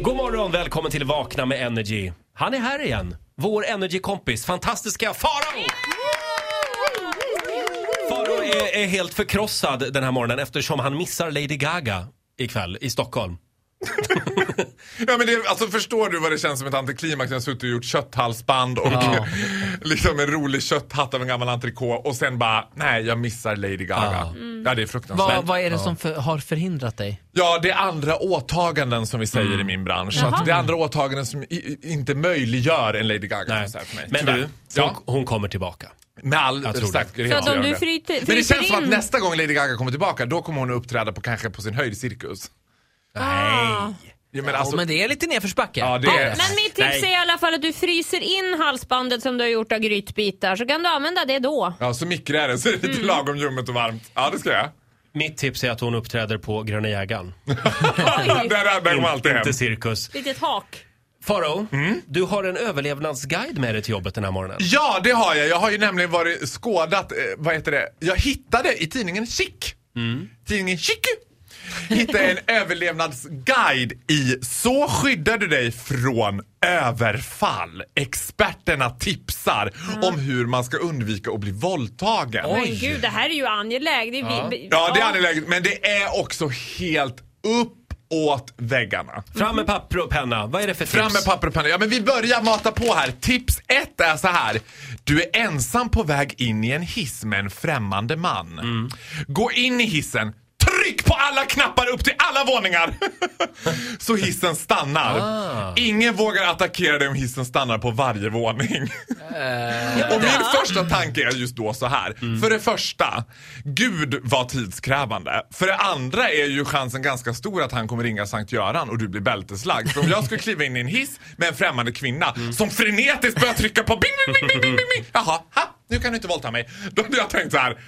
God morgon, välkommen till Vakna med Energy. Han är här igen, vår Energy-kompis, fantastiska Farao! Farao är, är helt förkrossad den här morgonen eftersom han missar Lady Gaga ikväll i Stockholm. Ja, men det, alltså, förstår du vad det känns som ett antiklimax när jag suttit och gjort kötthalsband och liksom en rolig kötthatt av en gammal entrecote och sen bara, nej jag missar Lady Gaga. Mm. Ja, det är fruktansvärt. Vad, vad är det som för, har förhindrat dig? Ja, det är andra åtaganden som vi säger i min bransch. Så att det är andra åtaganden som i, i, inte möjliggör en Lady Gaga-konsert för mig. Men Tyvärr. du, hon, ja, hon kommer tillbaka. med all tror det. respekt. det är helt Så att om du avgörande. fryter, fryter Men det känns in... som att nästa gång Lady Gaga kommer tillbaka, då kommer hon att uppträda på kanske på sin höjd cirkus. Nej! Ja, men Alltså, alltså, men det är lite nedförsbacke. ja, det Ja, är... men mitt tips Nej. är i alla fall att du fryser in halsbandet som du har gjort av grytbitar så kan du använda det då. Ja, så mikrar är det, så det är Mm. lite lagom ljummet och varmt. Ja, det ska jag. Mitt tips är att hon uppträder på Gröna jägaren. där där där kommer alltid hem. Inte cirkus. Litet hak. Farao, Mm? du har en överlevnadsguide med dig till jobbet den här morgonen. Ja, det har jag. Jag har ju nämligen varit skådat, eh, vad heter det, jag hittade i tidningen Chic. Tidningen Chic. Hittade en överlevnadsguide i Så skyddar du dig från överfall. Experterna tipsar om hur man ska undvika att bli våldtagen. Men gud, det här är ju angeläget. Det är vi- Ja, det är angeläget, men det är också helt uppåt väggarna. Fram med papper och penna. Vad är det för tips? Mm. Fram med papper och penna. Ja, men vi börjar mata på här. Tips ett är så här. Du är ensam på väg in i en hiss med en främmande man. Gå in i hissen. Tryck på alla knappar upp till alla våningar! så hissen stannar. Ingen vågar attackera dig om hissen stannar på varje våning. Och min första tanke är just då så här. Mm. För det första, Gud var tidskrävande. För det andra är ju chansen ganska stor att han kommer ringa Sankt Göran och du blir bälteslagd. För om jag skulle kliva in i en hiss med en främmande kvinna Mm. som frenetiskt börjar trycka på bing, bing, bing, bing, bing, bing, bing. Jaha, ha, nu kan du inte våldta mig. Då hade jag tänkt så här.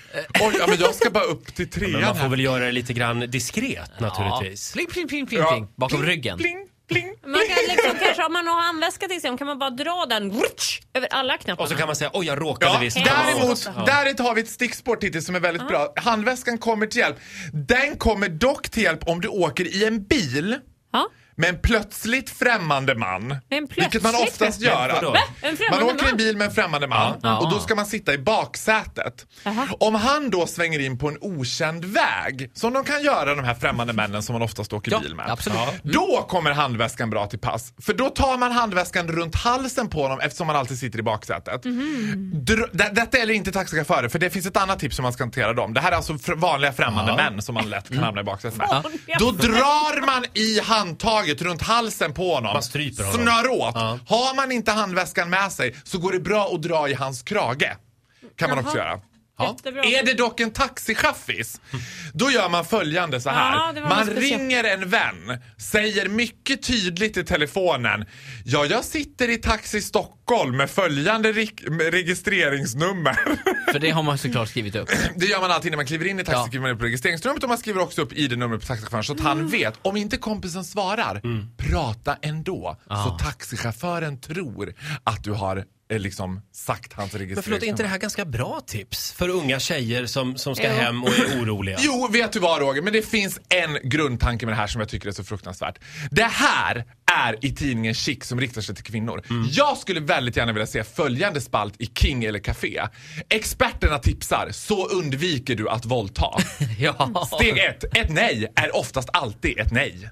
Oj, ja, men jag ska bara upp till trean Eh. Men man får här. väl göra det lite grann diskret naturligtvis. Pling, pling, pling, pling, Ja. pling. Bakom Pling, ryggen. Pling, pling, Man kan liksom, kanske, om man har handväska till exempel kan man bara dra den vrutsch, över alla knapparna. Och så kan man säga, oj jag råkade Ja, visst. däremot, Ja. däremot har vi ett stickspår Titti som är väldigt bra. Handväskan kommer till hjälp. Den kommer dock till hjälp om du åker i en bil Ja. med en plötsligt främmande man. en vilket man plötsligt oftast främmande- gör. Vadå? En Man främmande åker i en man? bil med en främmande man och då ska man sitta i baksätet. Jaha. Om han då svänger in på en okänd väg, som de kan göra de här främmande männen som man oftast åker Ja, bil med. absolut. Mm. Ja. Då kommer handväskan bra till pass. För då tar man handväskan runt halsen på honom eftersom man alltid sitter i baksätet. Mhm. Dr- det- detta gäller inte taxichaufförer för det finns ett annat tips som man ska hantera dem. Det här är alltså fr- vanliga främmande män som man lätt Mm. kan hamna i baksätet med. Vanliga Då drar man i handtaget runt halsen på honom. Man stryper honom. Snör åt. Har man inte handväskan med sig så går det bra att dra i hans krage. Kan man också göra. Ja. Jättebra. Är det dock en taxichaffis, då gör man följande så här. Ja, det var man något speciellt. ringer en vän, säger mycket tydligt i telefonen. Ja, jag sitter i Taxi Stockholm med följande rik- med registreringsnummer. För det har man såklart skrivit upp. Det gör man alltid när man kliver in i taxi, Ja. skriver man upp registreringsnumret och man skriver också upp ID-numret på taxichauffören så att han Mm. vet. Om inte kompisen svarar, prata ändå. Så taxichauffören tror att du har eh, liksom sagt hans Men förlåt, är inte det registreringsnummer. här ganska bra tips för unga tjejer som, som ska Jo. hem och är oroliga? Jo, vet du vad Roger? Men det finns en grundtanke med det här som jag tycker är så fruktansvärt. Det här är i tidningen Chic som riktar sig till kvinnor. Jag skulle väldigt gärna vilja se följande spalt i King eller Café. Experterna tipsar, så undviker du att våldta. Ja. Steg ett, ett nej är oftast alltid ett nej.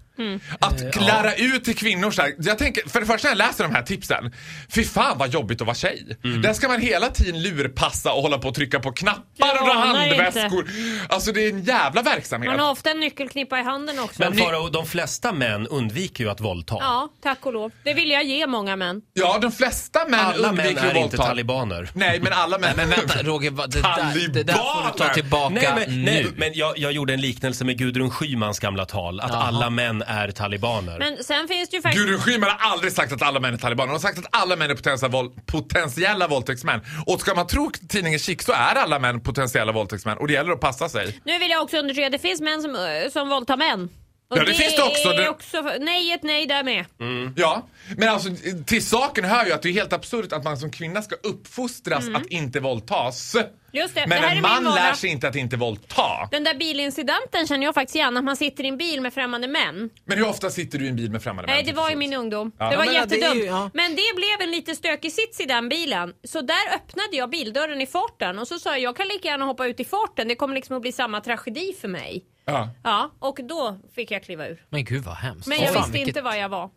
Att klara ut till kvinnor så här, jag tänker, för det första när jag läser de här tipsen, fy fan vad jobbigt att vara tjej. Där ska man hela tiden lurpassa och hålla på och trycka på knappar och Ja, handväskor. Alltså det är en jävla verksamhet. Man har ofta en nyckelknippa i handen också. Men Farao, de flesta män undviker ju att våldta. Ja, tack och lov. Det vill jag ge många män. Ja, de flesta män Alla män undviker är ju inte våldtag. talibaner. Nej, men alla män. Men vänta Roger, vad- det där, det där får du ta Talibaner! tillbaka Nej, men, nu. nej, men jag, jag gjorde en liknelse med Gudrun Schymans gamla tal, att alla män är talibaner. Men sen finns det ju faktiskt... Gudrun Schyman har aldrig sagt att alla män är talibaner. Hon har sagt att alla män är potentiella, våld, potentiella våldtäktsmän. Och ska man tro tidningen Chic så är alla män potentiella våldtäktsmän. Och det gäller att passa sig. Nu vill jag också understryka, det finns män som, eh, som våldtar män. Och Ja, det finns det också. är Det- också för- nej, ett nej där med. Ja, men alltså till saken hör ju att det är helt absurt att man som kvinna ska uppfostras att inte våldtas. Mm. Just det, Men det här en är min man vardag. lär sig inte att inte våldta. Den där bilincidenten känner jag faktiskt igen, att man sitter i en bil med främmande män. Men hur ofta sitter du i en bil med främmande Nej, män? det var i min ungdom. Ja. Det var Ja, men det är ju- jättedumt. ja. Men det blev en lite stökig sits i den bilen. Så där öppnade jag bildörren i farten och så sa jag, jag kan lika gärna hoppa ut i farten. Det kommer liksom att bli samma tragedi för mig. Ja. Ja, och då fick jag kliva ur. Men gud vad hemskt. Men Åh, jag fan, visste vilket- inte vad jag var.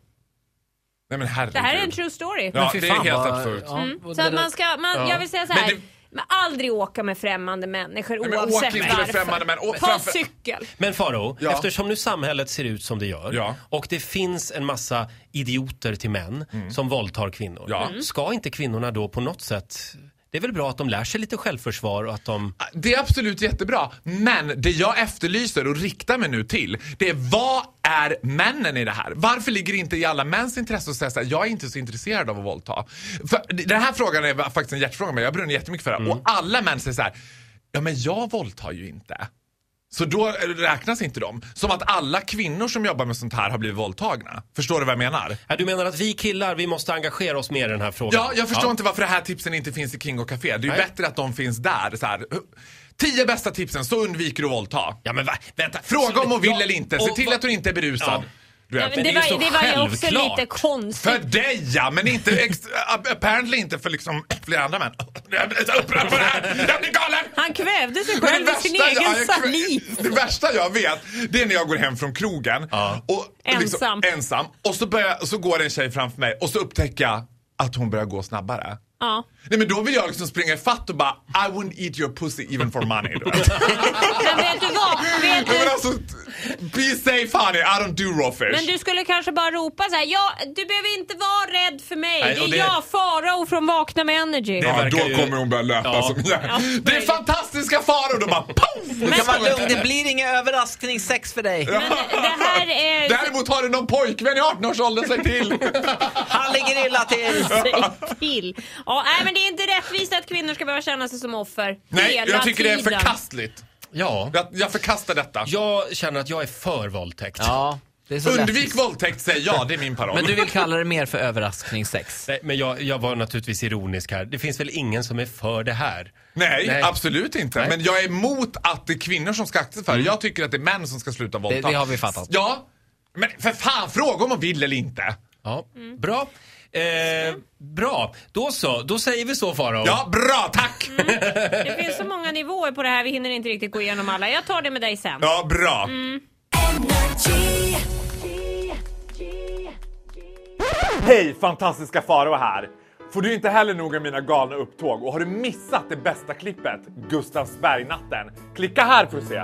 Nej men herregud. Det här är en true story. Ja, fy det är fan, helt vad- absurt. ja, och Mm. Så det att där- man ska, man, jag vill säga så Men här. det- Men aldrig åka med främmande människor men åk oavsett inte med varför. främmande män. Åk Ta framför- cykel. Men Faro, Ja. eftersom nu samhället ser ut som det gör Ja. och det finns en massa idioter till män som våldtar kvinnor. Mm. Ja. Mm. Ska inte kvinnorna då på något sätt... Det är väl bra att de lär sig lite självförsvar och att de... Det är absolut jättebra, men det jag efterlyser och riktar mig nu till, det är vad är männen i det här? Varför ligger det inte i alla mäns intresse att säga såhär, jag är inte så intresserad av att våldta? För den här frågan är faktiskt en hjärtfråga, men jag brunner jättemycket för det. Mm. Och alla män säger så här: ja men jag våldtar ju inte. Så då räknas inte de. Som att alla kvinnor som jobbar med sånt här har blivit våldtagna. Förstår du vad jag menar? Ja, du menar att vi killar, vi måste engagera oss mer i den här frågan? Ja, jag förstår inte varför det här tipsen inte finns i King och Café. Det är ju Nej. bättre att de finns där. Så här, tio bästa tipsen, så undviker du våldta. Ja, men va? vänta. Fråga om hon vill Ja, eller inte. Se och till vad- att hon inte är berusad. Ja. Du Ja, vet. men det det, är var, ju så det var ju också självklart. lite konstigt. För dig ja, men inte ex- a- apparently inte för liksom flera andra män. Jag blir så upprörd på det här! Jag blir galen! Han kvävde sig Men själv i sin jag- egen jag- saliv. Det värsta jag vet, det är när jag går hem från krogen. Och liksom Ensam. ensam. Och så, börjar, så går en tjej framför mig och så upptäcker jag att hon börjar gå snabbare. Ja. Nej men då vill jag liksom springa ifatt och bara I wouldn't eat your pussy even for money. du vet. Men vet du vad? Vet Nej, men du, alltså, be safe honey, I don't do raw fish. men du skulle kanske bara ropa så här. Ja, du behöver inte vara rädd för mig. Nej, det och är det- jag, Farao från Vakna med Energy. Det Ja, verkar då ju- kommer hon börja löpa Ja. som jag. Det är möjligt. fantastiska faror! Då bara poff! Du kan vara lugn, det blir ingen överraskningssex för dig. Men det här är... Däremot har du någon pojkvän i 18-årsåldern, säg till! Han ligger illa till. Säg till. Ja, nej, men det är inte rättvist att kvinnor ska behöva känna sig som offer Nej, hela jag tycker det är tiden. förkastligt. Ja. Jag, jag förkastar detta. Jag känner att jag är för våldtäkt. Ja, det är så Undvik våldtäkt, säger jag. Det är min paroll. Men du vill kalla det mer för överraskningssex? Nej, men jag, jag var naturligtvis ironisk här. Det finns väl ingen som är för det här? Nej, Nej. absolut inte. Men jag är emot att det är kvinnor som ska akta sig för det. Jag tycker att det är män som ska sluta våldta. Mm. det har vi fattat. Ja, men för fan, fråga om man vill eller inte. Ja, bra. Eh, bra, då så. Då säger vi så Farao. Ja, bra, tack! Det finns så många nivåer på det här, vi hinner inte riktigt gå igenom alla. Jag tar det med dig sen. Ja, bra. Hej, fantastiska Faro här! Får du inte heller nog av mina galna upptåg och har du missat det bästa klippet, Gustavsbergnatten, klicka här för att se.